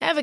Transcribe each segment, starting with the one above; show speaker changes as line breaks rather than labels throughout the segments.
Ever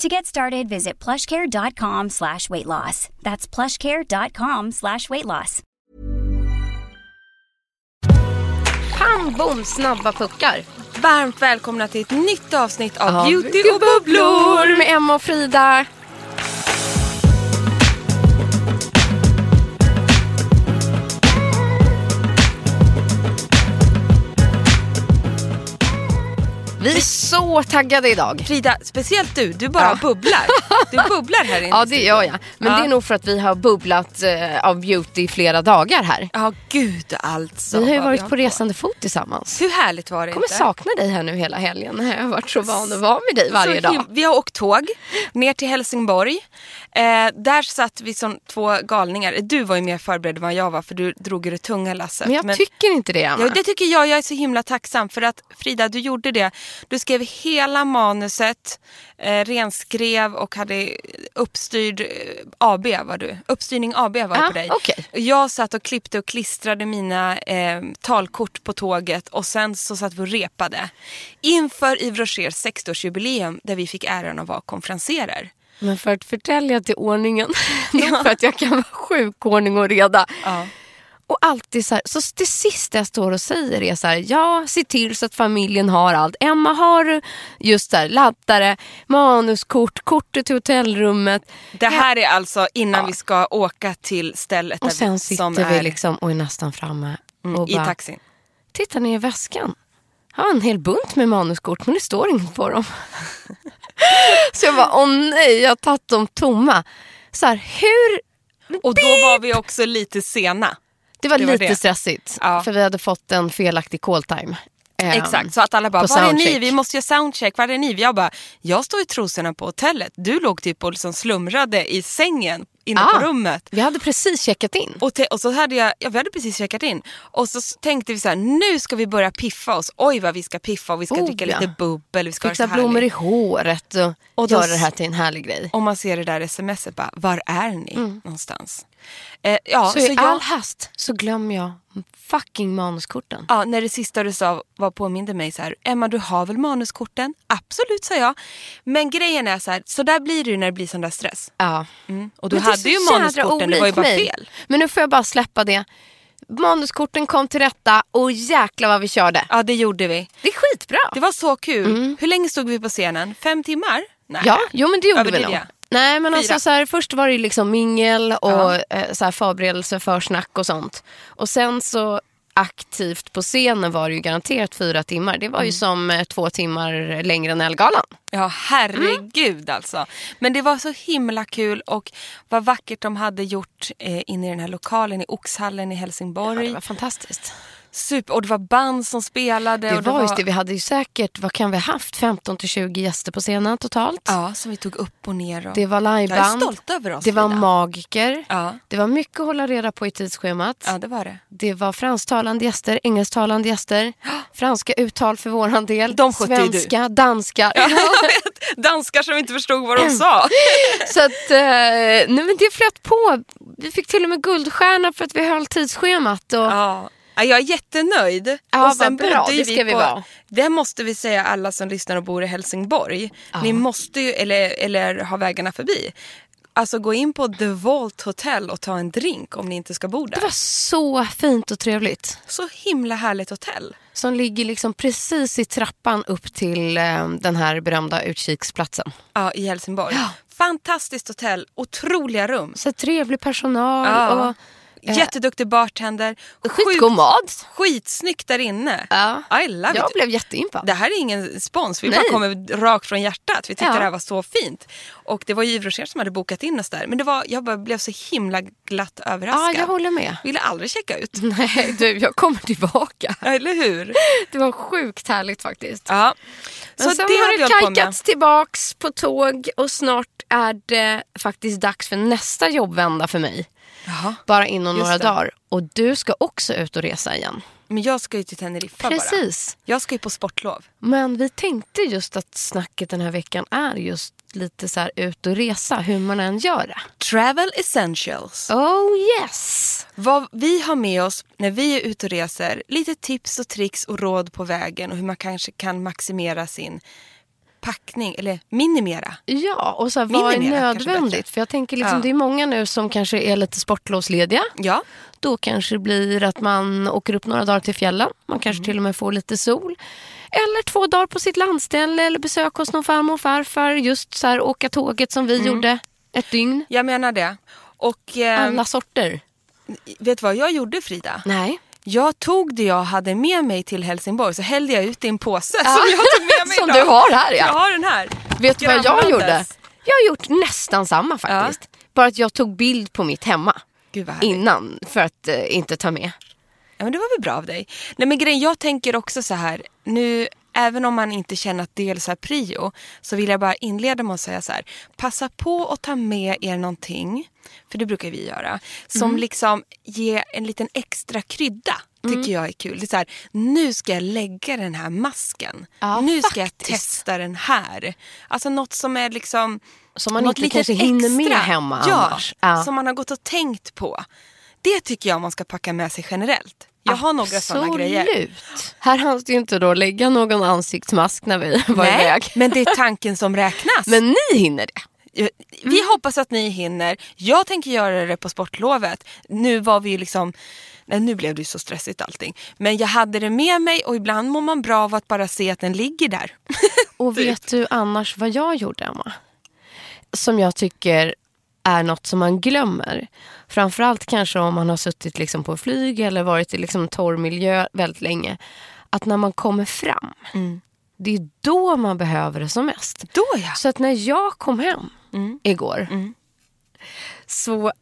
To get started, visit plushcare.com slash weight loss. That's plushcare.com slash weight loss.
Pam, bom, snabba puckar. Varmt välkomna till ett nytt avsnitt av Beauty och bubblor med Emma och Frida.
Vi är så taggade idag.
Frida, speciellt du, du bara
Ja.
bubblar. Du bubblar här inne.
Ja det gör jag. Men
Ja.
det är nog för att vi har bubblat eh, av beauty i flera dagar här.
Ja, gud alltså.
Vi har ju
vad vi
varit på
hållit
resande fot tillsammans.
Hur härligt var det
Jag kommer
inte?
sakna dig här nu hela helgen. Jag har varit så van att vara med dig varje
Så him-
dag.
Vi har åkt tåg ner till Helsingborg. Eh, där satt vi som två galningar. Du var ju mer förberedd än vad jag var för du drog ju det tunga lasset.
Men jag tycker inte det Emma.
Ja, det tycker jag. Jag är så himla tacksam för att Frida, du gjorde det. Du skrev hela manuset, eh, renskrev och hade uppstyrd eh, AB var du. Uppstyrning AB var det
Ja,
på dig.
okej.
Jag satt och klippte och klistrade mina eh, talkort på tåget och sen så satt vi och repade. Inför Yves Rochers 60-årsjubileum där vi fick äran att vara konferenserer.
Men för att förtälja till ordningen, nog för att jag kan vara sjuk ordning och reda.
Ja.
Och alltid så, här, så det sista jag står och säger är så här, ja se till så att familjen har allt. Emma har du just där laddare, manuskort, kortet till hotellrummet.
Det här är alltså innan
Ja.
vi ska åka till stället
Och
där
sen
vi,
sitter
som
vi
är
liksom och är nästan framme
mm,
och
i
bara,
taxin.
titta ner i väskan. Jag har en hel bunt med manuskort men det står inget på dem. så jag bara, åh nej jag har tagit dem tomma. Så här, hur...
Och då var vi också lite sena.
Det var
Det var
lite
det.
stressigt
Ja.
för vi hade fått en felaktig call time. Ehm,
Exakt, så att alla bara,
på
var är ni?
soundcheck.
Vi måste göra soundcheck, var är ni? Jag bara, jag står i trosorna på hotellet. Du låg typ och liksom slumrade i sängen inne
Ja.
på rummet.
Ah, Vi hade precis checkat in.
Och, te- och så hade jag, ja, vi hade precis checkat in och så s- tänkte vi så här, nu ska vi börja piffa oss. Oj vad vi ska piffa och vi ska
Oh,
dricka
ja.
lite bubbel. Vi ska ha det
Fixa
så härligt.
blommor i håret och,
Och då
göra
s-
det här till en härlig grej.
Om man ser det där smset, bara, var är ni någonstans? Eh, ja,
Mm. så, i
jag-
all hast så glömmer jag fucking manuskorten.
Ja, när det sista du sa var påminde mig så här, Emma du har väl manuskorten? Absolut sa jag. Men grejen är så här, så där blir det ju när det blir sån där stress.
Ja.
Och du
Men det är så
hade ju
jädra
manuskorten, det var ju
olikt
bara
mig.
fel.
Men nu får jag bara släppa det. Manuskorten kom till rätta och jäkla vad vi körde.
Ja det gjorde vi.
Det är skitbra.
Det var så kul. Hur länge stod vi på scenen? Fem timmar? Nej.
Mm. Ja, jo men det gjorde vi
Överdrev
nog.
jag?
Nej men alltså
Fyra.
så här, först var det ju liksom mingel och eh, så här, förberedelse för snack och sånt. Och sen så aktivt på scenen var det ju garanterat fyra timmar. Det var
Mm.
ju som eh, två timmar längre än Ellegalan.
Ja herregud alltså. Men det var så himla kul och vad vackert de hade gjort eh, inne i den här lokalen i Oxhallen i Helsingborg.
fantastiskt.
Super, och det var band som spelade.
Det
och
var just det, vi hade ju säkert, vad kan vi haft, 15 till 20 gäster på scenen totalt.
Ja, som vi tog upp och ner. Och...
Det var
jag är
liveband,
stolt över oss.
det var
Frida.
magiker,
Ja,
det var mycket att hålla reda på i tidsschemat.
ja, det var det.
Det var fransktalande gäster, engelsktalande gäster, franska uttal för våran del,
De skötte ju du.
svenska, danskar.
Danskar som inte förstod vad de sa.
Så att, eh, nej men det flöt på. Vi fick till och med guldstjärna för att vi höll tidsschemat. Och,
Ja. Ja, jag är jättenöjd.
Ja,
och sen
vad bra.
bodde ju
Det ska vi vara.
Det måste vi säga alla som lyssnar och bor i Helsingborg. Ni måste ju, eller, eller har vägarna förbi. Alltså gå in på The Vault Hotel och ta en drink om ni inte ska bo där.
Det var så fint och trevligt.
Så himla härligt hotell.
Som ligger liksom precis i trappan upp till eh, den här berömda utkiksplatsen.
Ja, i Helsingborg. Fantastiskt hotell, otroliga rum.
Så trevlig personal
Ja.
och
Jätteduktig bartender.
Eh. skitgod
Sjukt-
mat.
Skitsnyggt där inne.
Ja.
I love
Jag
it.
blev jätteimpad.
Det här är ingen spons, vi
Nej.
bara kommer rakt från hjärtat. Vi tyckte
Ja.
det här var så fint. Och det var ju Yves Rocher som hade bokat in oss där. Men det var, jag bara blev så himla glatt
Ja,
överraskad.
jag håller Mm. med.
Ville aldrig checka ut.
Nej, du, jag kommer tillbaka.
Eller hur?
Det var sjukt härligt faktiskt.
Ja. Så
Men sen
det
har
hade jag
det
hållit på med.
kajkats tillbaks på tåg och snart är det faktiskt dags för nästa jobbvända för mig.
Jaha.
Bara inom
Just
några
det.
dagar. Och du ska också ut och resa igen.
Men jag ska ju till Teneriffa bara.
Precis.
Jag ska ju på sportlov.
Men vi tänkte just att snacket den här veckan är just lite så här ut och resa, hur man än gör det.
Travel essentials.
Oh yes!
Vad vi har med oss när vi är ute och reser, lite tips och tricks och råd på vägen och hur man kanske kan maximera sin packning, eller minimera.
Ja, och så här, vad är
Minimera, kanske
nödvändigt?
bättre.
För jag tänker liksom,
Ja.
det är många nu som kanske är lite sportlovslediga.
Ja.
Då kanske det blir att man åker upp några dagar till fjällen. Man kanske till och med får lite sol. Eller två dagar på sitt landställe eller besök hos någon farmor och farfar. Just så här, åka tåget som vi gjorde ett dygn.
Jag menar det. Och eh,
Alla sorter.
vet du vad jag gjorde Frida?
Nej.
Jag tog det jag hade med mig till Helsingborg så hällde jag ut i en påse som jag tog med mig
Som
idag.
du har här, ja.
Jag har den här.
Vet du vad jag
Grannlandes.
gjorde? Jag har gjort nästan samma faktiskt. Bara att jag tog bild på mitt hemma
Gud vad härligt.
innan för att eh, inte ta med.
Ja, men det var väl bra av dig. Nej, men grejen, jag tänker också så här, nu, även om man inte känner att det är så här prio, så vill jag bara inleda med att säga så här, passa på att ta med er någonting, för det brukar vi göra, som
Mm.
liksom ger en liten extra krydda. Tycker
Mm.
jag är kul. Det är så här, nu ska jag lägga den här masken.
Ja,
nu ska jag
faktiskt.
testa den här. Alltså något som är liksom...
Som man
något
inte kanske
litet
hinner med
extra.
hemma
ja,
annars. Ja.
Som man har gått och tänkt på. Det tycker jag man ska packa med sig generellt. Jag har några sådana grejer.
Absolut. Här hanns det ju inte då lägga någon ansiktsmask när vi var
Nej,
iväg.
men det är tanken som räknas.
Men Mm. ni hinner det.
Jag- Vi hoppas att ni hinner. Jag tänker göra det på sportlovet. Nu var vi ju liksom... Nej, nu blev det ju så stressigt allting. Men jag hade det med mig och ibland mår man bra av att bara se att den ligger där.
Och
Typ.
vet du annars vad jag gjorde, Emma? Som jag tycker är något som man glömmer. Framförallt kanske om man har suttit liksom på flyg eller varit i liksom torr miljö väldigt länge. Att när man kommer fram, det är då man behöver det som mest.
Då Mm. ja. Mm.
Så att när jag kom hem igår så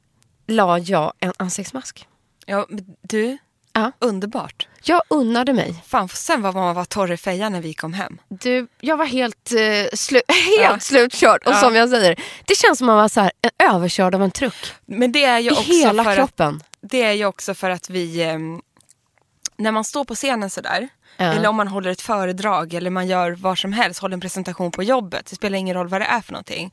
la jag en ansiktsmask.
ja men du,
Ja.
underbart.
Jag unnade mig.
Fan, sen var man var torr i fejan när vi kom hem.
Du, jag var helt, eh, slu- helt
Ja.
slutkörd. Och
Ja.
som jag säger, det känns som att man var så här, eh, överkörd av en truck.
Men det är ju
I
också
hela
för att
kroppen.
Det är ju också för att vi, ehm, när man står på scenen sådär,
Ja.
eller om man håller ett föredrag eller man gör vad som helst, håller en presentation på jobbet, det spelar ingen roll vad det är för någonting.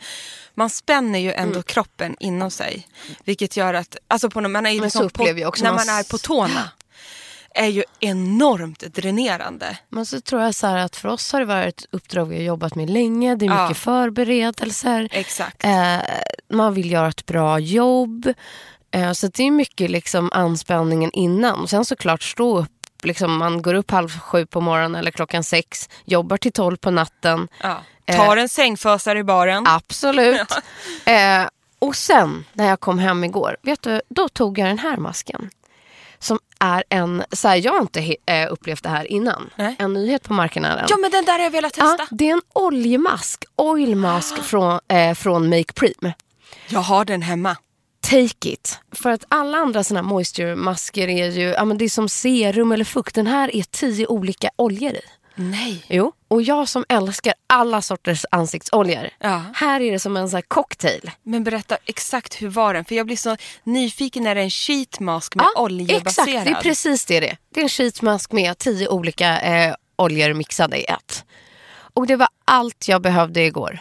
Man spänner ju ändå
Mm.
kroppen inom sig. Vilket gör att, alltså på, man är ju
Men
liksom
så
på,
upplever jag också,
när
man
man är
s-
på tårna, är ju enormt dränerande.
Men så tror jag så här att för oss har det varit ett uppdrag vi har jobbat med länge. Det är
Ja.
mycket förberedelser.
Exakt.
Eh, man vill göra ett bra jobb. Eh, så att det är mycket liksom anspänningen innan. Och sen såklart stå upp. Liksom man går upp halv sju på morgonen eller klockan sex. Jobbar till tolv på natten.
Ja.
eh.
Tar en sängfösare i baren.
Absolut. Eh, och sen när jag kom hem igår, vet du, då tog jag den här masken. Som är en, så här, jag har inte he- eh, upplevt det här innan.
Nej.
En nyhet på marknaden.
Ja men den där har jag velat testa.
Ja, det är en oljemask, oilmask från, eh, från Make Preem.
Jag har den hemma.
take it. För att alla andra såna här moisture-masker är ju ja, men det är som serum eller fukt. Den här är tio olika oljor i.
Nej.
Jo, och jag som älskar alla sorters ansiktsoljor.
Ja.
Här är det som en sån här cocktail.
Men berätta exakt hur var den? För jag blir så nyfiken när det är en sheet mask med oljebaserad.
Exakt, det är precis det det är. Det är en sheetmask med tio olika eh, oljor mixade i ett. Och det var allt jag behövde igår.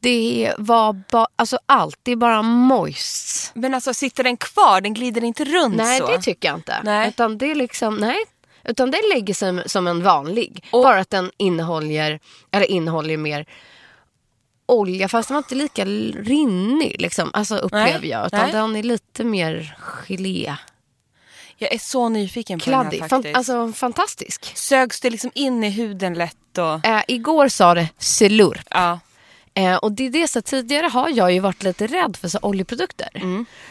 Det var bara, alltså allt, det är bara moist.
Men alltså sitter den kvar? Den glider inte runt
Nej
Mm, så?
det typ tycker jag inte.
Nej.
Utan det är liksom, nej. Utan det lägger sig som en vanlig. Bara att den innehåller, eller innehåller mer olja. Fast den var inte lika rinnig liksom, alltså upplever
Nej,
jag. Utan
nej.
den är lite mer gelé.
Jag är så nyfiken på den här
Kladdig. Fan,
faktiskt.
alltså fantastisk.
Sögs det liksom in i huden lätt? Och...
Eh, igår sa det slurp.
Ja.
Eh, och det är det, så här, tidigare har jag ju varit lite rädd för så här, oljeprodukter.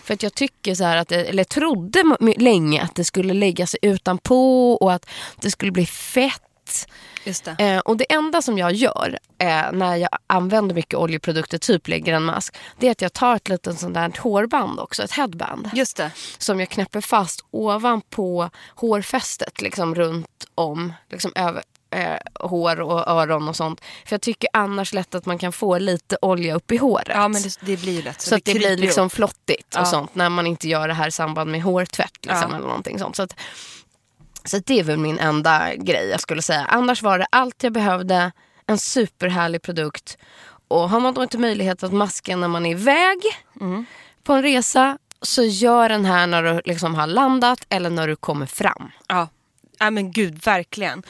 För att jag tycker så här att, det- eller trodde m- m- länge att det skulle lägga sig utanpå och att det skulle bli fett.
Just det.
Eh, och det enda som jag gör eh, när jag använder mycket oljeprodukter, typ lägger en mask, det är att jag tar ett litet sånt där hårband också, ett headband.
Just det.
Som jag knäpper fast ovanpå hårfästet, liksom runt om, liksom över eh, hår och öron och sånt. För jag tycker annars lätt att man kan få lite olja upp i håret.
Ja men det, det blir ju lätt så.
Så att det
kryper
blir
ju
liksom
upp.
flottigt och
Ja.
sånt när man inte gör det här i samband med hårtvätt. Liksom,
Ja.
eller någonting sånt. Så, att, så att det är väl min enda grej jag skulle säga. Annars var det allt jag behövde, en superhärlig produkt. Och har man då inte möjlighet att maska när man är iväg
Mm.
på en resa så gör den här när du liksom har landat eller när du kommer fram.
Ja. ja men gud verkligen.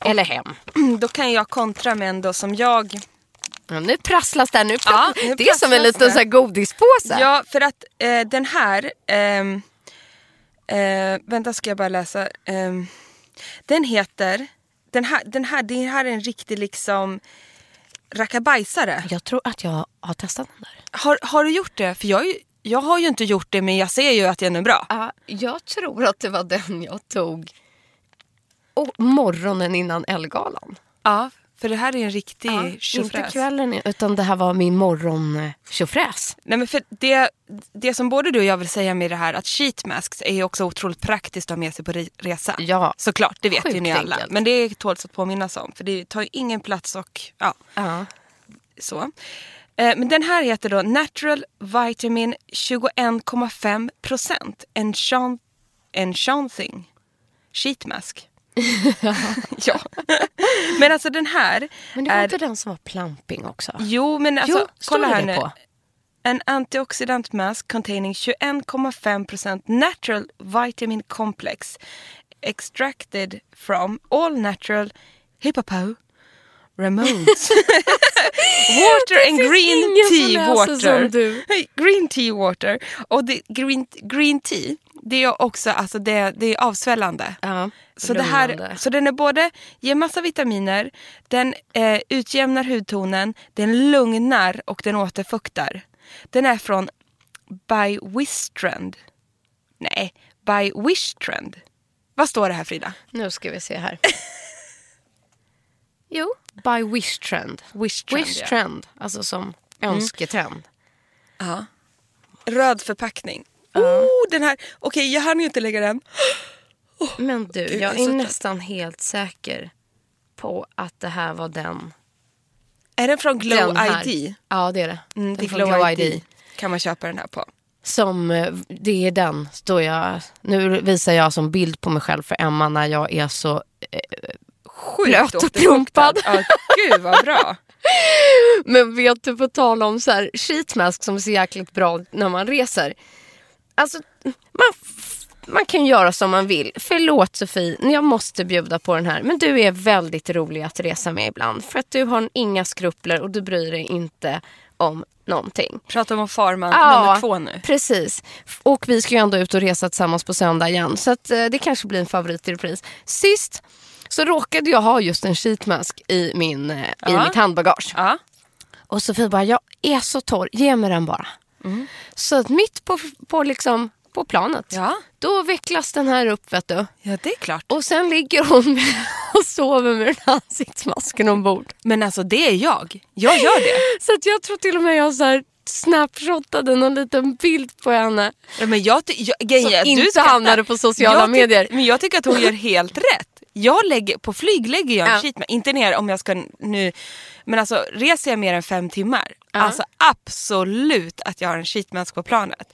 Eller hem.
Då kan jag kontra med en då som jag
Ja, nu prasslas det. Nu
Ja, nu
det är som en
prasslas
liten
det.
så här godispåse.
Ja, för att eh, den här... ehm, eh, vänta, ska jag bara läsa. Ehm, den heter... Den här, den, här, den här är en riktig liksom rackabajsare.
Jag tror att jag har testat den där.
Har, har du gjort det? För jag, är ju- jag har ju inte gjort det, men jag ser ju att den är bra.
Ja, jag tror att det var den jag tog och morgonen innan Mm, Ellegalan.
Ja, för det här är en riktig tjofräs.
Inte kvällen, utan det här var min morgon-tjofräs.
Nej, men för det, det som både du och jag vill säga med det här att sheet masks är ju också otroligt praktiskt att ha med sig på re- resa.
Ja.
Såklart, det vet
Sjukt
ju ni alla.
enkelt.
Men det tåls att påminnas om för det tar ju ingen plats och ja,
Ja.
så. Eh, Men den här heter då Natural Vitamin 21,5% Enchan- Enchanting Sheet Mask. ja. Men alltså den här
Men det var
är...
inte den som var plumping också?
Jo, men alltså
jo, står
kolla
det
här
det
nu.
på?
An antioxidant mask containing 21,5% natural vitamin complex extracted from all natural hippopo remotes. water and
finns
green
ingen som
tea
läser
water.
som du.
Green tea water. Och det, green, green tea, det är också alltså det, det är avsvällande.
Ja,
Så, det här,
lugnande.
så den är både, ger massa vitaminer, den eh, utjämnar hudtonen, den lugnar och den återfuktar. Den är från By Wistrand. Nej, By Wistrand. Vad står det här Frida?
Nu ska vi se här. jo, by wish trend.
Wish Trend,
Wish
ja.
trend, alltså som önsketrend.
Röd förpackning. Oh, den här. Okej, jag hann ju inte lägga den.
Men du,
Gud,
jag
jag
är
är så-
nästan helt säker på att det här var den.
Är den från Glow
den här.
ID?
Ja, det är det.
Mm, det
Den
är
från
Glow,
Glow
ID. Kan man köpa den här på.
som eh, det är den, står jag, nu visar jag som bild på mig själv för Emma när jag är så, eh,
Sjukt
Blöt och
återfuktad.
plumpad.
Ja, gud vad bra.
men vet du på tal om så här sheetmask som är så jäkligt bra när man reser. Alltså man, f- man kan göra som man vill. Förlåt Sofie, jag måste bjuda på den här. Men du är väldigt rolig att resa med ibland för att du har inga skrupler och du bryr dig inte om någonting.
Prata om farman nummer två nu.
Precis. Och vi ska ju ändå ut och resa tillsammans på söndag igen. Så att, eh, det kanske blir en favorit i repris. Sist så råkade jag ha just en sheetmask i, min, eh, i
Ja.
mitt handbagage.
Ja.
Och Sofie bara, jag är så torr, ge mig den bara.
Mm.
Så att mitt på, på, liksom, på planet,
Ja.
då vecklas den här upp vet du.
ja, det är klart.
Och sen ligger hon med, och sover med den här ansiktsmasken ombord.
Men alltså det är jag. Jag gör det.
Så att jag tror till och med jag har så här snapshotade någon liten bild på henne.
Ja, Men jag, ty- jag, grejen
Som
är att
inte
du skrattar.
hamnade på sociala
jag ty-
medier.
Men jag tycker att hon gör helt rätt. Jag lägger, på flyg lägger jag en
Ja.
sheet med, inte ner om jag ska nu, men alltså reser jag mer än fem timmar, alltså absolut att jag har en sheetmask på planet.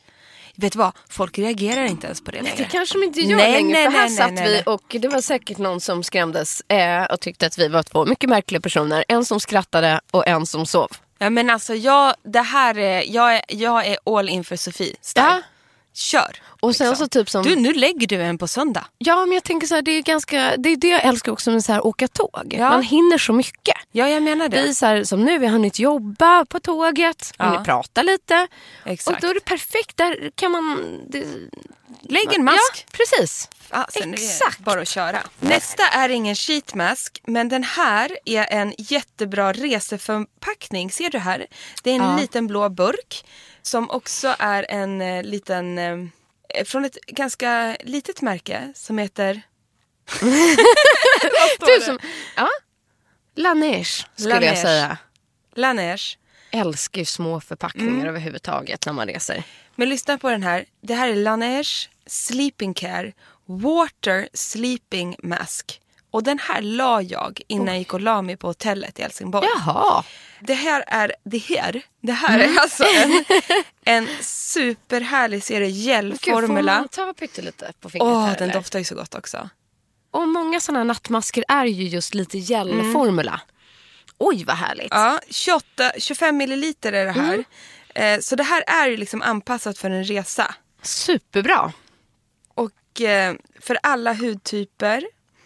Vet du vad, folk reagerar inte ens på det
Det
längre.
kanske de inte gör
Nej,
längre
nej,
för här
nej,
satt
nej,
vi
nej.
och det var säkert någon som skrämdes eh, och tyckte att vi var två mycket märkliga personer. En som skrattade och en som sov.
Ja, men alltså jag, det här är, jag är, jag är all in för Sofie style.
Ja.
Kör!
Och sen så typ som...
Liksom. Du, nu lägger du en på söndag.
Ja men jag tänker så här, det är ganska, det är det jag älskar också med så här åka tåg.
Ja.
Man hinner så mycket.
Ja, jag menar det.
Vi är så här, som nu, vi har hunnit jobba på tåget,
Ja.
hunnit prata lite.
Exakt.
Och då är det perfekt, där kan man... Det,
Lägg en mask.
Ja, precis.
Fasen, det är
Exakt.
Bara att köra. Nästa är ingen sheetmask, men den här är en jättebra reseförpackning. Ser du här? Det är en liten blå burk som också är en eh, liten... Eh, från ett ganska litet märke som heter...
Du som, ja. Laneige skulle jag
Laneige.
säga.
Laneige.
Älskar ju små förpackningar överhuvudtaget när man reser.
Men lyssna på den här. Det här är Laneige Sleeping Care Water Sleeping Mask. Och den här la jag innan jag gick och la mig på hotellet i Helsingborg.
Jaha. Mm.
Det här är, det här, det här är alltså en, en superhärlig serie
Gud, får
gelformula.
man ta pyttelite på fingret
Åh,
här
den
eller?
doftar ju så gott också.
Och många sådana nattmasker är ju just lite gelformula. Mm. Oj vad härligt.
Ja, 28, 25 milliliter är det här.
Mm.
Eh, så det här är ju liksom anpassat för en resa.
Superbra.
Och eh, för alla hudtyper.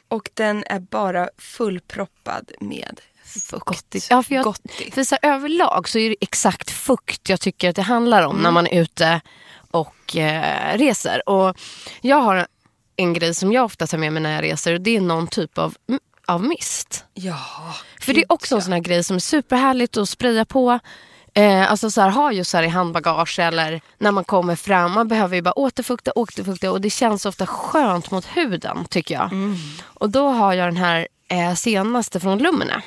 Och den är bara fullproppad med fukt.
Ja, för, jag,
Gotti.
för så här, överlag så är det exakt fukt jag tycker att det handlar om när man är ute och eh, reser. Och jag har en grej som jag ofta tar med mig när jag reser och det är någon typ av, av mist.
Ja.
För det är också en sån här grej som är superhärligt att spraya på. Eh, alltså så här, ha just så här i handbagage eller när man kommer fram. Man behöver ju bara återfukta, återfukta och det känns ofta skönt mot huden tycker jag.
Mm.
Och då har jag den här eh, senaste från Lumene.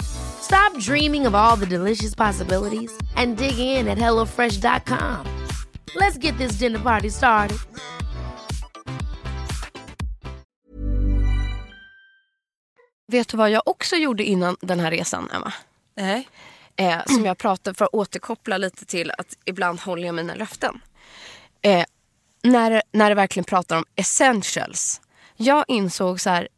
Stop dreaming of all the delicious possibilities and dig in at HelloFresh.com. Let's get this dinner party started.
Vet du vad jag också gjorde innan den här resan, Emma?
Nej.
Eh, som jag pratade för att återkoppla lite till att ibland håller jag mina löften. Eh, när, när det verkligen pratar om essentials. Jag insåg så här,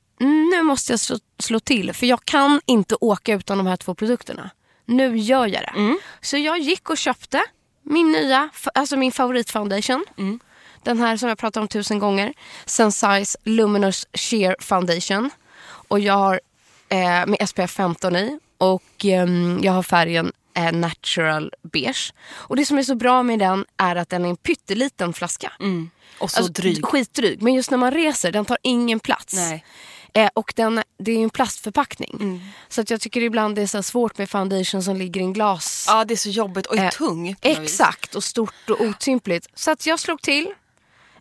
nu måste jag slå, slå till för jag kan inte åka utan de här två produkterna. Nu gör jag det. Så jag gick och köpte min nya, fa- alltså min favoritfoundation. Den här som jag pratat om tusen gånger. Sensai's Luminous Sheer Foundation. Och jag har eh, med SPF 15 i. Och ehm, jag har färgen eh, Natural Beige. Och det som är så bra med den är att den är en pytteliten flaska.
Mm. Och så
Alltså,
dryg.
Skitdryg. Men just när man reser, den tar ingen plats.
Nej. Mm.
Eh, och den, det är ju en plastförpackning. Så att jag tycker ibland det är så här svårt med foundation som ligger i en glas.
Ja, det är så jobbigt och
Eh,
tung. på något vis.
Exakt, och stort och otympligt. Så att jag slog till.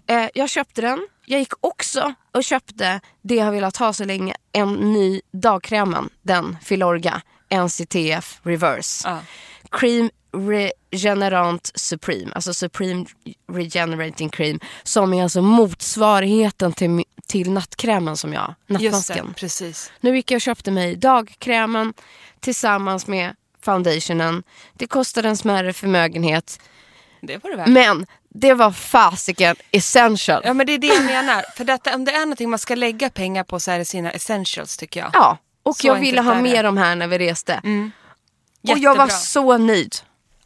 Eh, jag köpte den. Jag gick också och köpte det jag har velat ha så länge. En ny dagkrämen. Den, Filorga NCTF Reverse.
Ja.
Cream Regenerant Supreme. Alltså Supreme Regenerating Cream. Som är alltså motsvarigheten till, mi- till nattkrämen som jag,
Just
nattmasken.
det, precis.
Nu gick jag och köpte mig dagkrämen tillsammans med foundationen. Det kostade en smärre förmögenhet.
Det var det värt.
Men det var fasiken essential.
Ja men det är det jag menar. För detta, om det är någonting man ska lägga pengar på så är det sina essentials tycker jag.
Ja, och
Så
jag ville
enkelt
ha
är det. Mm.
med de här när vi reste. Och
Jättebra.
jag var så nöjd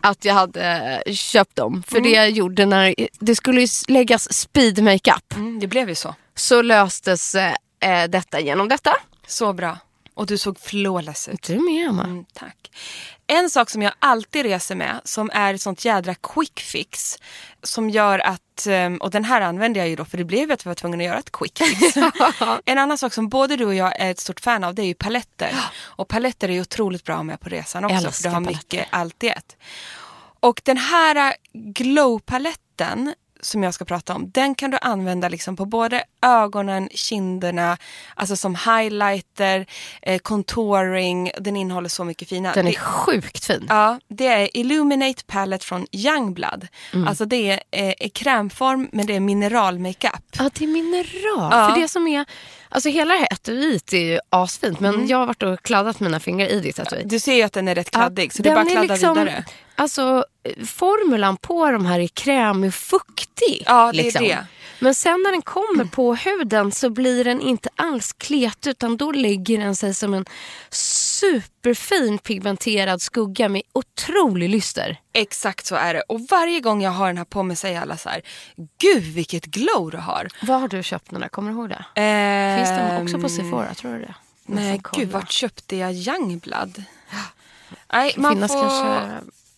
att jag hade eh, köpt dem. För
Mm.
det jag gjorde när det skulle ju s- läggas speed makeup
Mm, det blev ju så.
så löstes eh, eh, detta genom detta.
Så bra. Och du såg flawless ut.
Du med Emma.
Mm, tack. En sak som jag alltid reser med som är ett sånt jädra quick fix som gör att, ehm, och den här använde jag ju då för det blev ju att vi var tvungna att göra ett quick fix. en annan sak som både du och jag är ett stort fan av det är ju paletter. Och paletter är ju otroligt bra med på resan också för
Älskar
du har
paletter.
mycket allt i ett. Och den här eh, glow-paletten som jag ska prata om, den kan du använda liksom på både ögonen, kinderna, alltså som highlighter, eh, contouring. Den innehåller så mycket fina.
Den är
det,
sjukt fin.
ja, det är Illuminate Palette från Youngblood.
Mm.
Alltså det är eh, i krämform men det är mineralmakeup.
Ja, det är mineral.
Ja.
För det som är, alltså hela det här etuiet är ju asfint men
Mm.
jag har varit och kladdat mina fingrar i ditt etui.
Du ser ju att den är rätt kladdig så det är bara
Den liksom-
att kladda vidare.
Alltså, eh, formulan på de här är krämig fuktig. liksom.
Ja, det är det.
Men sen när den kommer på huden så blir den inte alls klet utan då lägger den sig som en superfin pigmenterad skugga med otrolig lyster.
Exakt så är det. Och varje gång jag har den här på mig säger alla så här, gud vilket glow du har.
Var har du köpt den där? Kommer du ihåg det? Finns de också på Sephora? Tror du det? Jag
Ehm, Nej,
får kolla.
gud, vart köpte jag Youngblood? Nej, man
finnas
får
kanske-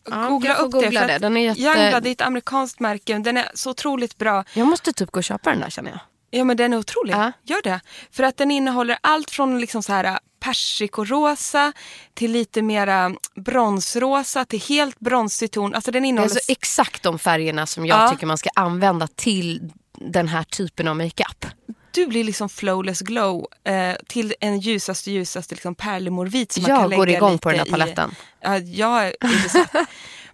Ja,
googla
jag får
upp det.
googla
för
det.
att
Den är jätte-
Youngblood är ett amerikanskt märke. Den är så otroligt bra.
Jag måste typ gå och köpa den där känner jag.
Ja, men den är otrolig.
Ja.
Gör det. För att den innehåller allt från liksom så här persikorosa till lite mera äh, bronsrosa till helt bronsig ton. Alltså den
Det är
innehåller...
alltså exakt de färgerna som jag
Ja.
tycker man ska använda till den här typen av makeup.
Du blir liksom flawless glow eh, till en ljusaste ljusaste liksom pärlemorvit. Som man
Jag
kan lägga
går igång på
lite
den här paletten.
I, ja, jag är besatt.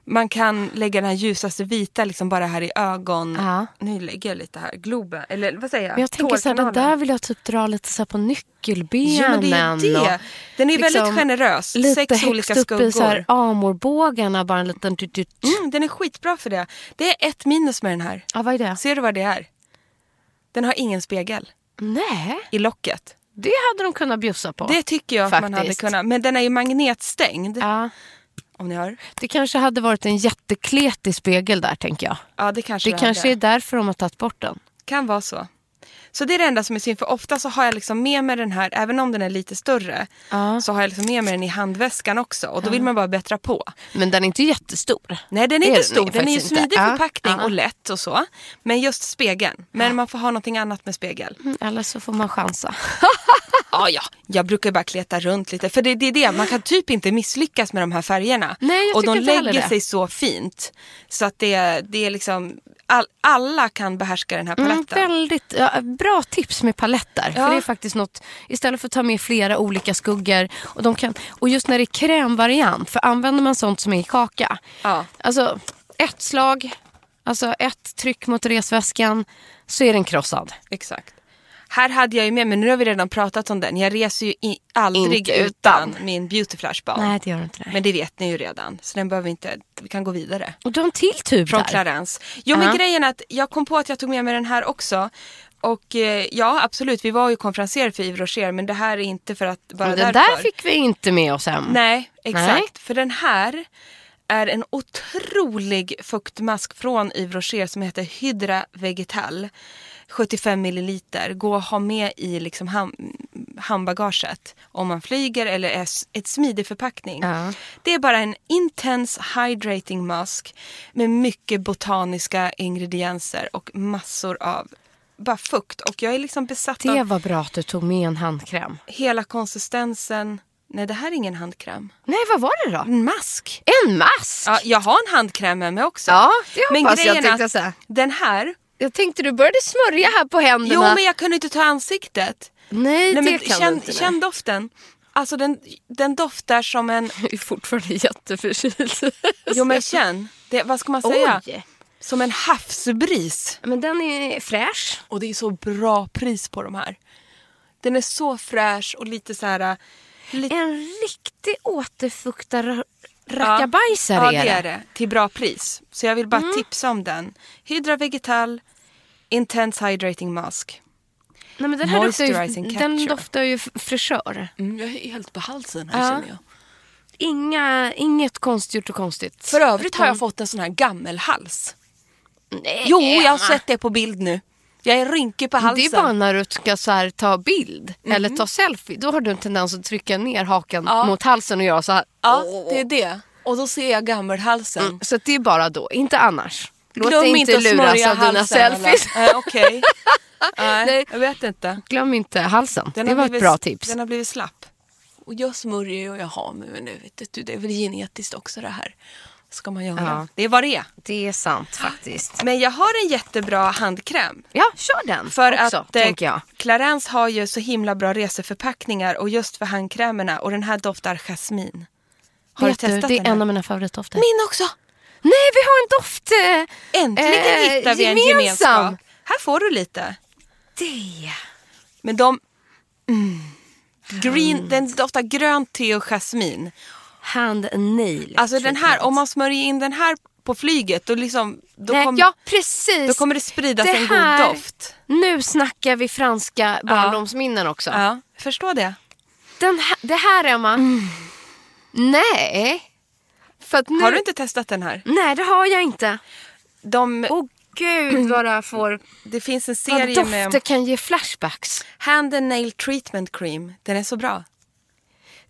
Man kan lägga den här ljusaste vita liksom bara här i ögon.
Ja.
Nu lägger jag lite här. Globen, eller vad säger jag?
Men jag tänker så här, den
Tårkanalen.
där vill jag typ dra lite så här på nyckelbenen.
Ja men det är ju
och
det. Den är
liksom
väldigt generös.
Lite
Sex
högst
olika
upp i så här
skuggor.
amorbågarna, bara en liten... Du, du, du.
Mm, den är skitbra för det. Det är ett minus med den här.
Ja, vad är det?
Ser du vad det är? Den har ingen spegel
Nej,
i locket.
det hade de kunnat bjussa på.
Det tycker jag att man hade
Faktiskt.
kunnat. Men den är ju magnetstängd.
ja,
Om ni hör.
det kanske hade varit en jättekletig spegel där, tänker jag.
Ja, det kanske
Det kanske
är.
är därför de har tagit bort den.
kan vara så. Så det är det enda som är synd, för ofta så har jag liksom med mig den här, även om den är lite större,
Ja.
så har jag liksom med mig den i handväskan också. Och då vill man bara bättra på.
Men den är inte jättestor.
Nej, den är
Det är
inte
den
stor.
ju
Den är ju
faktiskt inte.
smidig
Ja,
förpackning
ja.
och lätt och så. Men just spegeln. Men man får ha någonting annat med spegel.
Mm, Eller så får man chansa.
Ja, ja, jag brukar bara kleta runt lite. För det, det är det, man kan typ inte misslyckas med de här färgerna.
Nej, jag
och de
tycker inte heller
lägger
det.
sig så fint. Så att det, det är liksom, all, alla kan behärska den här
Mm,
paletten.
väldigt ja, bra tips med paletter.
Ja.
För det är faktiskt något, istället för att ta med flera olika skuggor. Och, de kan, och just när det är krämvariant, för använder man sånt som är i kaka.
Ja.
Alltså ett slag, alltså ett tryck mot resväskan så är den krossad.
Exakt. Här hade jag ju med, men nu har vi redan pratat om den. Jag reser ju i, aldrig
Inte
utan. min Beauty Flash Balm.
Nej det gör den inte. Nej.
Men det vet ni ju redan, så den behöver vi inte, vi kan gå vidare.
Och du har en till tub
Från
där.
Clarence. Jo men
Ja.
grejen är att jag kom på att jag tog med mig den här också. Och eh, ja absolut, vi var ju konferenser för Yves Rocher men det här är inte för att bara
Men den
därför.
där fick vi inte med oss hem.
Nej, exakt.
Nej.
För den här är en otrolig fuktmask från Yves Rocher som heter Hydra Vegetal. 75 milliliter. Gå och ha med i liksom ham- handbagaget om man flyger eller är s- ett smidig förpackning.
Ja.
Det är bara en intens hydrating mask med mycket botaniska ingredienser och massor av bara fukt. Och jag är liksom besatt
Det
av
var bra att du tog med en handkräm.
hela konsistensen. Nej, det här är ingen handkräm.
Nej vad var det då?
En mask.
En mask!
Ja, jag har en handkräm med mig också.
Ja, det hoppas jag,
grejen är
tänkte
att
jag säga.
Den här.
Jag tänkte du började smörja här på händerna.
Jo, men jag kunde inte ta ansiktet.
Nej, det
men
kan du
känn,
inte. nej.
känn doften. Alltså den, den doftar som en...
Jag är fortfarande jätteförkyld.
Jo men känn. Det, vad ska man säga?
Oj!
Som en havsbris.
Men den är fräsch.
Och det är så bra pris på de här. Den är så fräsch och lite så här... Lite,
En riktig återfuktare rackabajsare
ja, det Mm. är det. Till bra pris. Så jag vill bara tipsa om den. Hydra Vegetal Intense Hydrating Mask.
Nej, men den här doftar
Moisturizing
ju, den
capture.
doftar ju f- fräschör.
Mm, jag är helt på halsen här
känner jag. Inga, inget konstgjort och konstigt.
För övrigt har jag fått en sån här
Eh,
gammelhals.
Nej,
Jo, jag har
Emma.
sett det på bild nu. Jag är rynkig på halsen.
eh,
Mm.
Det är bara när du ska så här, ta bild eller ta selfie. Då har du en tendens att trycka ner hakan
Ja.
mot halsen och göra så här.
Ja, det är det. Och då ser jag gammelhalsen.
Mm, Så att det är bara då, inte annars. Låt
Glöm
dig
inte
inte
att
luras
smörja
av dina
halsen. alla.
selfies.
Nej, Okej. Nej,
Nej.
jag vet inte.
Glöm inte halsen.
Den
det
har
var ett
blivit-
bra tips.
Den har blivit slapp. Och jag smörjer ju och jag har mig, men nu vet du, det är väl genetiskt också det här. Ska man göra.
Ja.
Det är vad det är.
Det är sant
Ah.
faktiskt.
Men jag har en jättebra handkräm.
Ja, kör den
För
också,
att eh,
tänker jag.
Clarence har ju så himla bra reseförpackningar och just för handkrämerna och den här doftar jasmin. Har
Vet
du testat
du, det är
den här?
en av mina favoritdofter.
Min också!
Nej, vi har en doft! eh,
Äntligen
eh,
hittar vi en gemenskap. Här får du lite.
Det.
Men de... Mm, green, Den doftar grönt te och jasmin.
Hand nail.
Alltså den här,
treatment.
om man smörjer in den här på flyget då, liksom, då,
Nej,
kommer,
ja, precis.
då kommer det spridas
Det
en god
här-
doft.
Nu snackar vi franska barndomsminnen också.
Ja, Mm. förstår det.
Den här, det här, Emma. Nej. För att nu...
Har du inte testat den här?
Nej, det har jag inte.
De,
Åh gud vad det här får...
det finns en
Oh. Vad
serie med...
dofter kan ge flashbacks.
Hand and nail treatment cream. Den är så bra.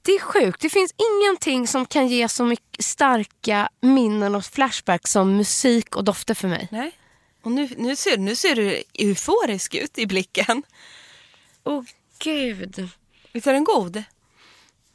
Det är sjukt. Det finns ingenting som kan ge så mycket starka minnen och flashbacks som musik och dofter för mig.
Nej. Och nu, nu, ser, nu ser du euforisk ut i blicken.
Åh oh, gud.
Visst är den god?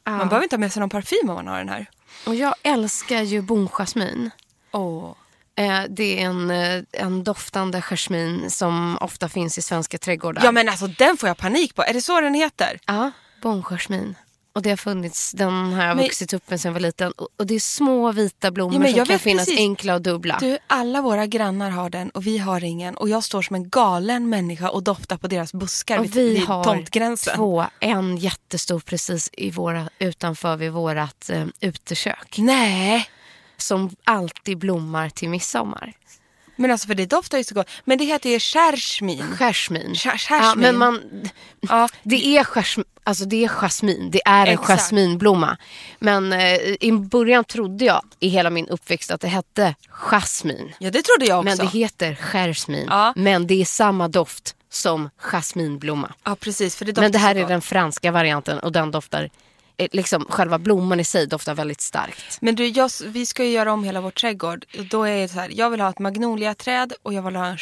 Man behöver inte ha med sig någon parfym om man har den här.
Och jag älskar ju bonjasmin.
Åh.
Eh, det är en, eh, en doftande jasmin som ofta finns i svenska trädgårdar.
Ja men alltså den får jag panik på. Är det så den heter?
Ja, bonjasmin. Och det har funnits, den har jag
Men-
vuxit upp med sen jag var liten. Och, och det är små vita blommor
Ja, men
som
jag
kan
vet
finnas
precis.
enkla och dubbla.
Du, alla våra grannar har den och vi har ingen. Och jag står som en galen människa och doftar på deras buskar
och
vid,
vi
vid
har
tomtgränsen.
två, en jättestor precis i våra, utanför vid vårat eh, utekök.
Nej!
Som alltid blommar till midsommar.
Men alltså för det doftar ju så gott. Men det heter ju Kersmin.
Jasmin.
Jas- jasmin.
Ja, men man,
Ja,
Det är, jasm, alltså det är jasmin, det är en
Exakt.
jasminblomma. Men eh, i början trodde jag i hela min uppväxt att det hette jasmin.
ja, det trodde jag också.
Men det heter jasmin.
Ja.
Men det är samma doft som jasminblomma.
ja, precis. För det doftar
Men det här
så
är
gott.
den franska varianten och den doftar eh, liksom själva blomman i sig doftar väldigt starkt.
Men du, jag, vi ska ju göra om hela vår trädgård. Då är det så här, jag vill ha ett magnoliaträd och jag vill ha en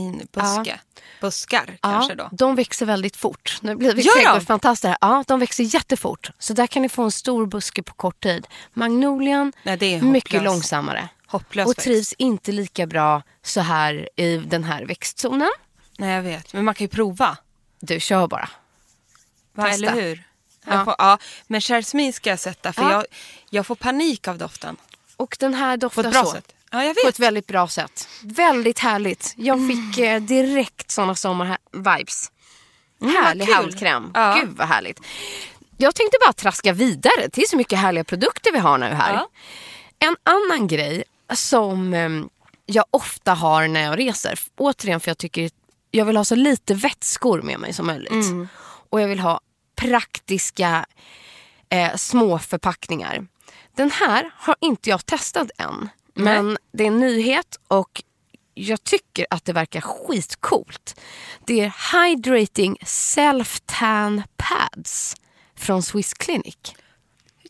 jasminbuske. Buskar kanske då.
De växer väldigt fort. Nu blir vi
Gör de?
trädgårdsfantaster här. Ja, de växer jättefort. Så där kan ni få en stor buske på kort tid. Magnolian,
Nej, det är hopplöst.
mycket långsammare.
Hopplös
och
växt.
trivs inte lika bra så här i den här växtzonen.
Nej, jag vet. Men man kan ju prova.
Du kör bara.
Va,
Testa.
eller hur?
Ja.
Jag får, ja, men jasmin ska jag sätta för
Ja.
jag, jag får panik av doften.
Och den här doftar
På ett bra
så.
sätt. Ja, jag
På
vet. Mm.
ett väldigt bra sätt. Väldigt härligt. Jag fick eh, direkt såna sommar-vibes. Härlig
Mm, kul.
handkräm.
Ja.
Gud vad härligt. Jag tänkte bara traska vidare till så mycket härliga produkter vi har nu här.
Ja.
En annan grej som eh, jag ofta har när jag reser. f- Återigen för jag tycker jag vill ha så lite vätskor med mig som möjligt.
Mm.
Och jag vill ha praktiska eh, små förpackningar. Den här har inte jag testat än. Men det är en nyhet och jag tycker att det verkar skitcoolt. Det är Hydrating Self-Tan Pads från Swiss Clinic.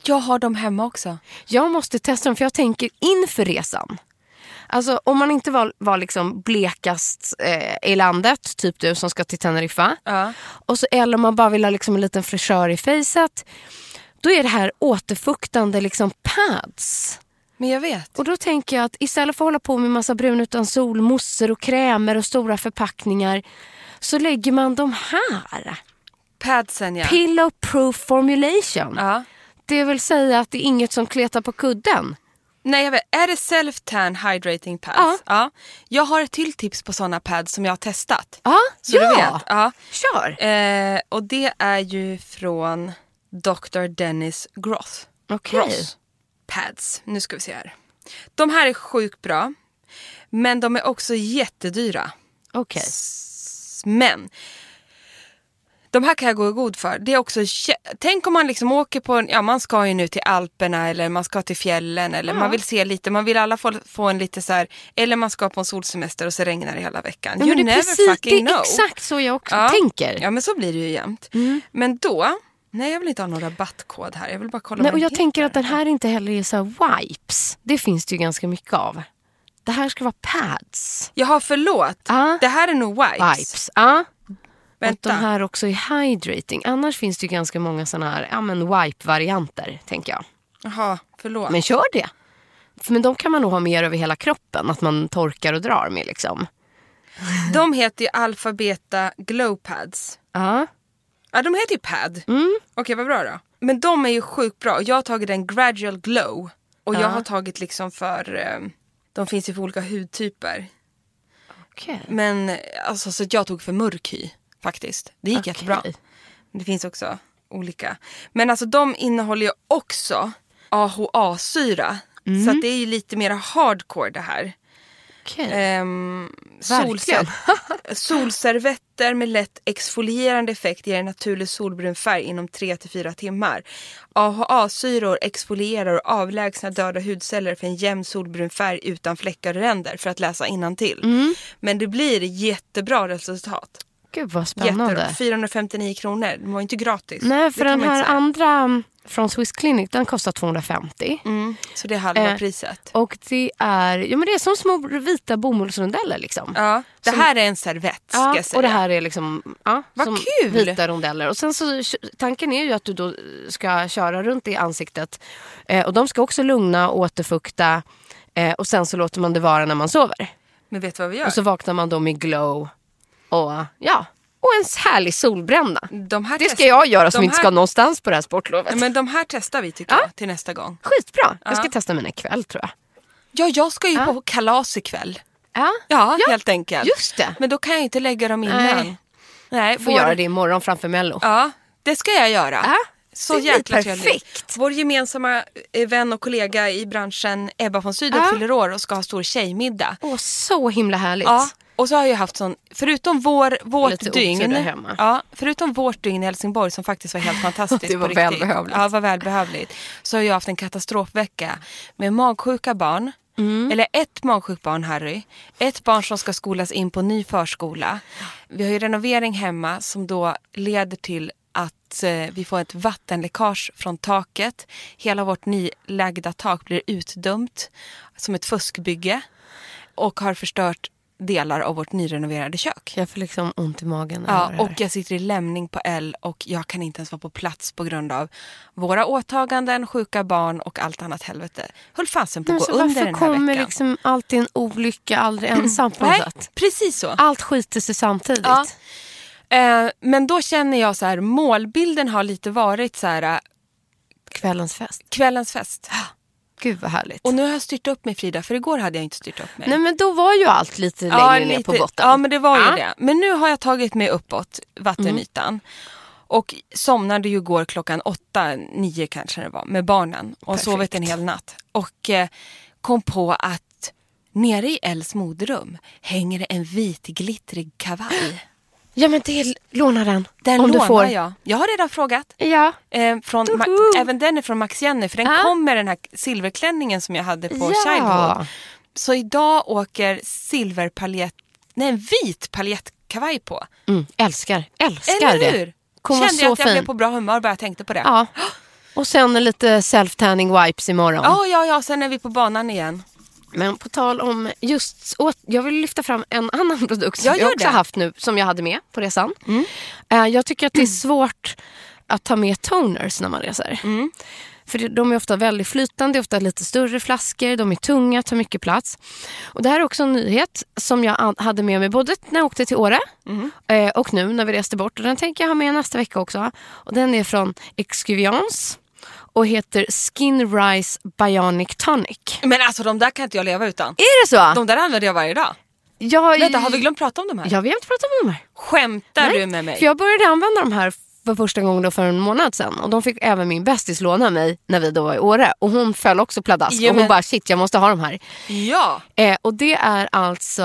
Jag har dem hemma också.
Jag måste testa dem för jag tänker inför resan. Alltså om man inte var, var liksom blekast eh, i landet, typ du som ska till Teneriffa.
Ja.
Och så, eller om man bara vill ha liksom en liten fräschör i fejset. Då är det här återfuktande liksom pads.
Men jag vet.
Och då tänker jag att istället för att hålla på med massa brun utan sol, mousser och krämer och stora förpackningar. Så lägger man de här.
Padsen ja.
Pillow proof formulation.
ja.
Det vill säga att det är inget som kletar på kudden.
Nej, jag vet. Är det self-tan hydrating pads?
Ja.
Jag har ett till tips på sådana pads som jag har testat.
Ja,
Så
ja.
du vet. Ja.
Kör!
Eh, och det är ju från Dr. Dennis Gross.
Okej.
Gross pads. Nu ska vi se här. De här är sjukt bra. Men de är också jättedyra.
Okej.
Men de här kan jag gå i god för. Det är också, kä- tänk om man liksom åker på, en, ja man ska ju nu till Alperna eller man ska till fjällen eller man vill se lite, man vill alla få, få en lite så här, eller man ska på en solsemester och så regnar det hela veckan.
Ja,
you
men det är
never
precis,
fucking
det är
know.
exakt så jag också tänker. Mm.
Ja men så blir det ju jämt. Men då, nej jag vill inte ha någon rabattkod här, jag vill bara kolla
Nej,
vad
och jag
den
tänker att
heter.
den här inte heller är så här wipes. Det finns det ju ganska mycket av. Det här ska vara pads.
Jaha förlåt,
Ja.
det här är nog wipes.
Ah. Wipes. Ja. Att
Vänta.
de här också är hydrating. Annars finns det ju ganska många sådana här ja, men wipe-varianter, tänker jag.
Jaha, förlåt.
Men kör det. För, men de kan man nog ha mer över hela kroppen, att man torkar och drar med liksom.
De heter ju Alphabeta Glow Pads.
Ja.
Ja, de heter ju Pad.
Mm.
Okej, vad bra då. Men de är ju sjukt bra. Jag har tagit en gradual glow. Och jag har tagit liksom för... eh, De finns ju för olika hudtyper.
Okej.
Men eh, alltså så att jag tog för mörk hy faktiskt. Det gick
Okej.
jättebra. Det finns också olika. Men alltså de innehåller ju också AHA-syra. Så att det är ju lite mer hardcore det här.
Okej.
Ehm,
Verkligen.
solser- solservetter med lätt exfolierande effekt ger en naturlig solbrun färg inom 3-4 timmar. AHA-syror exfolierar och avlägsnar döda hudceller för en jämn solbrun färg utan fläckar och ränder för att läsa innantill.
Mm.
Men det blir jättebra resultat.
Gud vad
Jättebra.
spännande.
459 kronor, det var inte gratis.
Nej, för
Det kan
den
man
här
inte säga.
andra mm, från Swiss Clinic, den kostar 250.
Mm, så det är halva
Eh,
priset.
Och det är, ja, men det är som små vita bomullsrondeller. Liksom.
Ja, det här är en servett ska
Ja,
jag säga.
och det här är liksom ja,
Vad
som
kul!
vita rondeller. Och sen så, tanken är ju att du då ska köra runt i ansiktet. Eh, och de ska också lugna och återfukta. Eh, och sen så låter man det vara när man sover.
Men vet du vad vi gör?
Och så vaknar man då med glow och, ja, och en härlig solbränna.
de här
Det
test-
ska jag göra som
Mm. de
inte
här-
ska någonstans på det här sportlovet.
Ja, Men de här testar vi tycker jag till nästa gång.
Skitbra! Jag ska
Ja.
testa mina ikväll tror jag.
Ja, jag ska ju på kalas ikväll.
Ja,
Ja, helt enkelt.
Just det.
Men då kan jag inte lägga dem innan.
Nej.
Nej,
Får
vår-
göra det imorgon framför Mello.
Ja, det ska jag göra.
Ja,
Så
det blir
jäkla trevligt.
perfekt.
Vår gemensamma eh, vän och kollega i branschen Ebba von Sydow
Ja.
fyller år och ska ha stor tjejmiddag.
Åh, så himla härligt.
Ja, och så har jag haft sån, förutom vår, vårt
Lite otur
dygn.
där hemma.
Ja, förutom vårt dygn i Helsingborg som faktiskt var helt fantastiskt
Det
på
var
riktigt.
välbehövligt.
Ja, var välbehövligt. Så har jag haft en katastrofvecka med magsjuka barn. Eller ett magsjukt barn Harry. Ett barn som ska skolas in på ny förskola. Vi har ju renovering hemma som då leder till att att eh, vi får ett vattenläckage från taket. Hela vårt nylagda tak blir utdömt som ett fuskbygge och har förstört delar av vårt nyrenoverade kök.
Jag får liksom ont i magen. när jag hör
Ja,
det här.
och jag sitter i lämning på L och jag kan inte ens vara på plats på grund av våra åtaganden, sjuka barn och allt annat helvete. Höll fasen på
Men
att
alltså,
gå under
varför
den här veckan.
kommer
Mm.
liksom alltid en olycka aldrig ensam på något
Nej,
sätt?
precis så.
Allt skiter sig samtidigt.
Ja.
Ah.
Eh, men då känner jag så här, målbilden har lite varit så här, eh,
Kvällens fest.
kvällens fest.
Gud vad härligt.
Och nu har jag styrt upp mig Frida, för igår hade jag inte styrt upp mig.
Nej men då var ju allt lite längre ner på botten.
Ja, men det var ju
Ja.
det. Men nu har jag tagit mig uppåt vattenytan.
Mm.
Och somnade ju igår klockan åtta, nio kanske det var, med barnen. Och
Perfekt.
sovit en hel natt. Och eh, kom på att nere i Els moderum hänger det en vitglittrig kavaj.
Ja men det lånar den.
Den
Om
lånar
du får.
jag. Jag har redan frågat.
Ja.
Eh, från
Woho!
Mac- även den är från Max Jenner för den
Ah.
kom med den här silverklänningen som jag hade på
Ja.
Childhood. Så idag åker silverpaljett, nej en vit paljettkavaj på.
Mm, älskar, älskar
Eller
det.
hur?
Kommer vara
Kände jag
så
att jag blev
fin.
på bra humör bara jag tänkte på det.
Ja. Och sen lite self-tanning wipes imorgon.
Ja, ja, ja, sen är vi på banan igen.
Men på tal om just... åt- Jag vill lyfta fram en annan produkt som
Ja,
jag,
gör
också
det.
haft nu, som jag hade med på resan. Eh, Jag tycker att det är svårt att ta med toners när man reser. För det- de är ofta väldigt flytande, ofta lite större flaskor, de är tunga, tar mycket plats. Och det här är också en nyhet som jag an- hade med mig både när jag åkte till Åre eh, och nu när vi reste bort. Och den tänker jag ha med nästa vecka också. Och den är från Excuviance och heter Skin Rise Bionic Tonic.
Men alltså de där kan inte jag leva utan.
Är det så?
De där använder jag varje dag.
Jag,
Vänta, har vi glömt prata om de här?
Eh, Ja, vi har inte pratat om de här.
Skämtar
Nej,
du med mig?
För jag började använda de här för första gången då för en månad sedan. Och de fick även min bästis låna mig när vi då var i Åre. Och hon föll också pladask.
Jo,
och hon
men-
bara shit jag måste ha de här.
Ja,
Eh, och det är alltså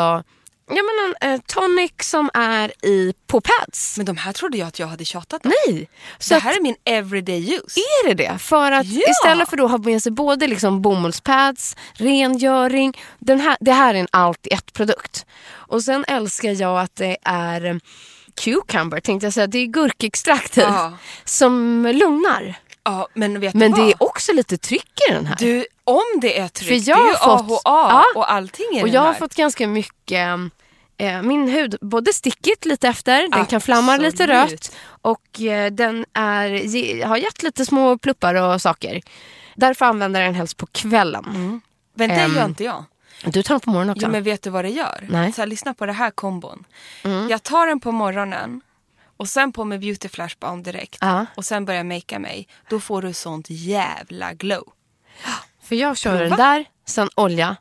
ja, men en eh, tonic som är i på pads.
men de här trodde jag att jag hade tjatat om.
Nej! Så
det
att-
här är min everyday use.
är det det? För att
Ja.
istället för då att ha med sig både liksom bomullspads, rengöring. Den här, det här är en allt i ett produkt. Och sen älskar jag att det är eh, cucumber tänkte jag säga. Det är gurkextrakt i,
Ja.
som lugnar.
Ja, men vet
Men
du vad?
det är också lite tryck i den här.
Du, om det är tryck,
För jag
det är ju
har
AHA
fått- Ja.
och allting i
och
den
jag
här.
har fått ganska mycket, eh, min hud både stickigt lite efter, den kan flamma lite
Absolut.
rött och eh, den är, ge, har gett lite små pluppar och saker. Därför använder jag den helst på kvällen.
men det gör
Ehm,
inte jag.
Du tar den på morgonen också?
Jo, men vet du vad det gör?
Nej. Mm.
Så här, lyssna på det här kombon. Jag tar den på morgonen och sen på med beauty flash balm direkt
Ja.
och sen börjar jag makea mig. Då får du sånt jävla glow.
För jag kör den där, sen olja,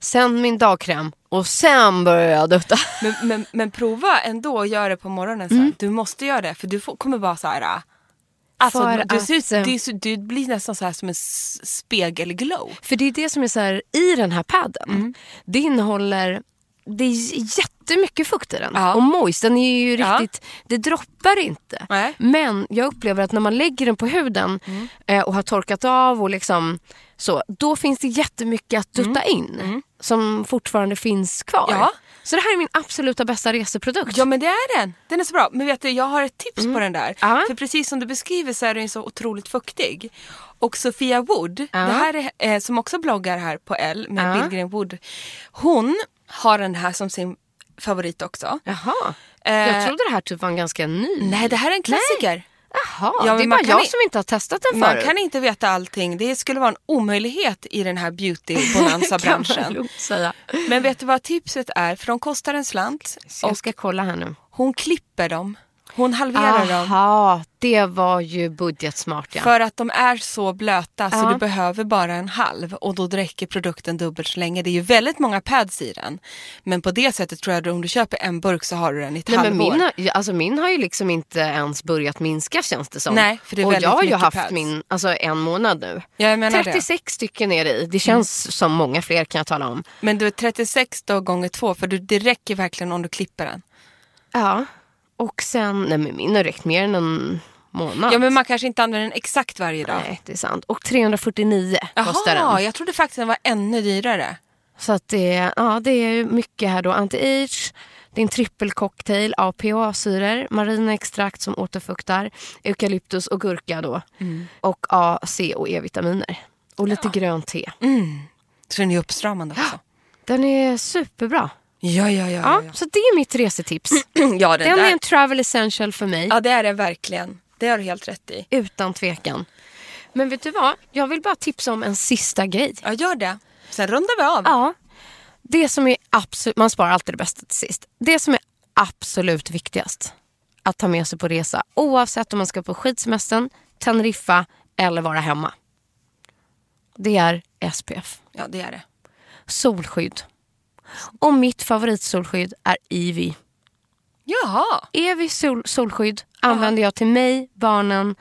sen min dagkräm och sen börjar jag dutta.
Men, men, men prova ändå att göra det på morgonen
Mm.
sen. Du måste göra det för du får, kommer vara så här. ah, Alltså,
För
du, du, ser ut,
att, eh,
du, ser- du blir nästan så här som en s- spegelglow.
För det är det som är så här, i den här padden, det innehåller det är j- jättemycket fukt i den
Ja.
och moist. Den är ju
Ja.
riktigt, det droppar inte.
Nej.
Men jag upplever att när man lägger den på huden eh, och har torkat av och liksom så, då finns det jättemycket att dutta in som fortfarande finns kvar.
Ja.
Så det här är min absoluta bästa reseprodukt.
Ja men det är den. Den är så bra. Men vet du, jag har ett tips på den där.
Mm. Ja.
För precis som du beskriver så är den ju så otroligt fuktig. Och Sofia Wood, det här är, eh, som också bloggar här på L med Billgren Wood. Hon har den här som sin favorit också.
Jaha.
Eh,
Jag trodde det här typ var en ganska ny.
Nej, det här är en klassiker.
Jaha,
Ja, men
det är
man
bara
kan
jag
i-
som inte har testat den
Man
förut.
kan inte veta allting. Det skulle vara en omöjlighet i den här
Kan man
beauty-bonanza-branschen.
lugnt säga.
Men vet du vad tipset är? För de kostar en slant.
Så
Och
jag ska kolla här nu.
hon klipper dem. Hon
Ah.
halverar dem.
Aha, det var ju budgetsmart ja.
För att de är så blöta så
Ja.
du behöver bara en halv och då räcker produkten dubbelt så länge. Det är ju väldigt många pads i den. Men på det sättet tror jag att om du köper en burk så har du den i ett
Nej, men
halvår.
min, har, ja, alltså min har ju liksom inte ens börjat minska känns det som.
Nej, för det är
och
väldigt
jag har ju
mycket
haft
pads.
min alltså, en månad nu.
Ja, jag menar
36 stycken är det i. Det känns som många fler kan jag tala om.
det. Men du är 36 då gånger två för du, det räcker verkligen om du klipper den.
Ja. Och sen, nej men min har räckt mer än en månad.
Ja men man kanske inte använder den exakt varje dag.
Nej det är sant. Och 349 kostar den.
Jaha, jag trodde faktiskt den var ännu dyrare.
Så att det, ja, det är ju mycket här då. Anti-age, det är en trippelcocktail av PHA-syror, marina extrakt som återfuktar, eukalyptus och gurka då.
Mm.
Och A, C och E-vitaminer. Och lite grönt te.
Så den är uppstramande också.
Den är superbra.
Ja, ja, ja.
Ja,
ja, ja.
så det är mitt resetips.
ja den,
Den
där.
är en travel essential för mig.
Ja, det är den verkligen. Det har du helt rätt i.
Utan tvekan. Men vet du vad? Jag vill bara tipsa om en sista grej.
Ja, gör det. Sen rundar vi av.
Ja. Det som är absolut, man sparar alltid det bästa till sist. Det som är absolut viktigast att ta med sig på resa oavsett om man ska på skidsemestern, Teneriffa eller vara hemma. Det är SPF.
Ja, det är det.
Solskydd. Och mitt favoritsolskydd är Ivy.
Jaha.
Evy sol, solskydd använder jag till mig, barnen,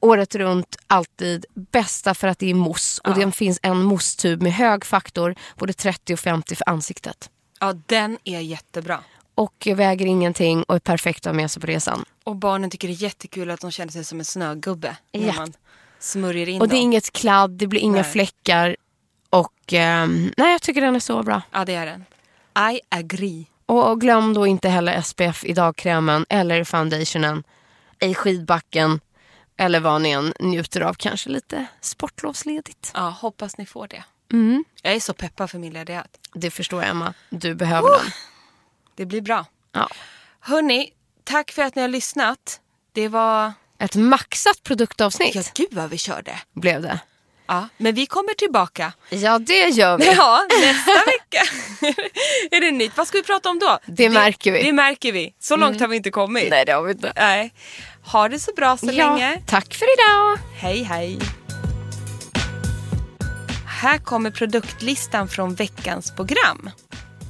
året runt, alltid. Bästa för att det är mousse och den finns en mousstub med hög faktor, både 30 och 50 för ansiktet.
Ja, den är jättebra.
Och väger ingenting och är perfekt att ha med sig på resan.
Och barnen tycker det är jättekul att de känner sig som en snögubbe. När
Ja.
man smörjer in
Och det är
dem.
inget kladd, det blir inga
Nej.
fläckar. Och ehm, nej, jag tycker den är så bra.
Ja, det är den. I agree.
Och, och glöm då inte heller SPF i dagkrämen eller foundationen i skidbacken. Eller vad ni än njuter av, kanske lite sportlovsledigt.
Ja, hoppas ni får det.
Mm.
Jag är så peppad för min ledighet.
Det förstår jag, Emma. Du behöver
Oh.
den.
Det blir bra.
Ja.
Hörni, tack för att ni har lyssnat. Det var...
Ett maxat produktavsnitt
Ja, gud vad vi körde.
blev det.
Ja, men vi kommer tillbaka.
Ja, det gör vi.
Ja, nästa vecka är det nytt. Vad ska vi prata om då? Det,
märker vi. Mm.
Det märker vi. Så långt har vi inte kommit. Nej, det har vi inte. Nej. Ha det så bra så
ja,
länge.
Tack för idag.
Hej, hej. Här kommer produktlistan från veckans program.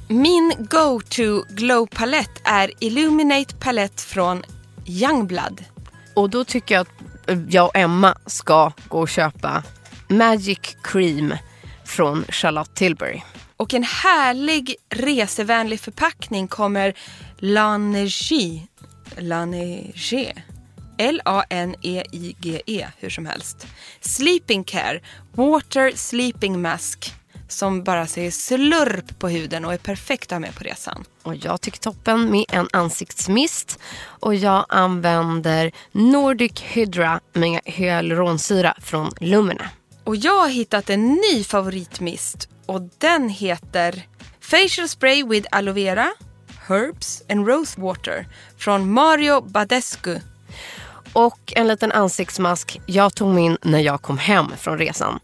Min go-to glow-palett är Illuminate Palette från Youngblood.
Och då tycker jag att eh, jag och Emma ska gå och köpa Magic Cream från Charlotte Tilbury.
Och en härlig resevänlig förpackning kommer Lanergie. Lanergie. E L-A-N-E-I-G-E, hur som helst. Sleeping Care Water Sleeping Mask som bara ser slurp på huden och är perfekt att ha med på resan.
Och jag tycker toppen med en ansiktsmist. Och jag använder Nordic Hydra med hyaluronsyra från Lumina.
Och jag har hittat en ny favoritmist och den heter Facial Spray with Aloe Vera, Herbs and Rose Water från Mario Badescu.
och en liten ansiktsmask jag tog min när jag kom hem från resan.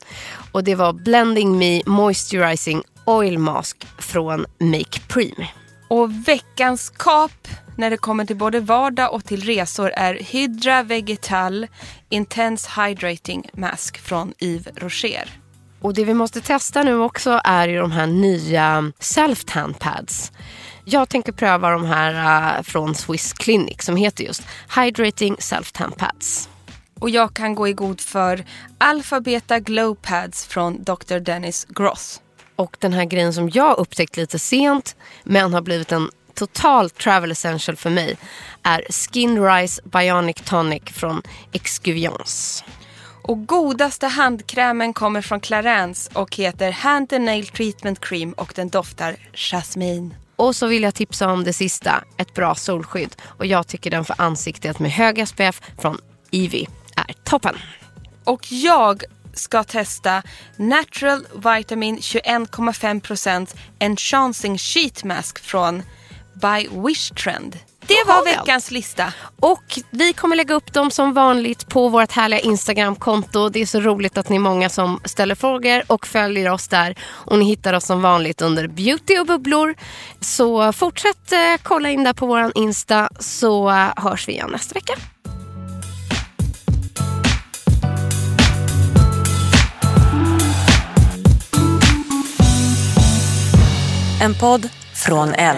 Och det var Blending Me Moisturizing Oil Mask från Make Prime.
Och veckans kap när det kommer till både vardag och till resor är Hydra Vegetal Intense Hydrating Mask från Yves Rocher.
Och det vi måste testa nu också är ju de här nya self tan pads. Jag tänker pröva de här äh, från Swiss Clinic som heter just Hydrating Self tan Pads.
Och jag kan gå i god för Alpha Beta Glow Pads från Dr. Dennis Gross.
Och den här grejen som jag upptäckt lite sent men har blivit en total travel essential för mig är Skin Rise Bionic Tonic från Excuviance.
Och godaste handkrämen kommer från Clarins och heter Hand and Nail Treatment Cream och den doftar jasmin.
Och så vill jag tipsa om det sista, ett bra solskydd. Och jag tycker den för ansiktet med hög SPF från Ivy är toppen.
Och jag ska testa Natural Vitamin 21,5% Enchancing Sheet Mask från By Wish Trend. Det var veckans lista.
Och vi kommer lägga upp dem som vanligt på vårt härliga Instagram-konto. Det är så roligt att ni är många som ställer frågor och följer oss där. Och ni hittar oss som vanligt under beauty och bubblor. Så fortsätt eh, kolla in där på våran Insta så eh, hörs vi igen nästa vecka.
En podd från L.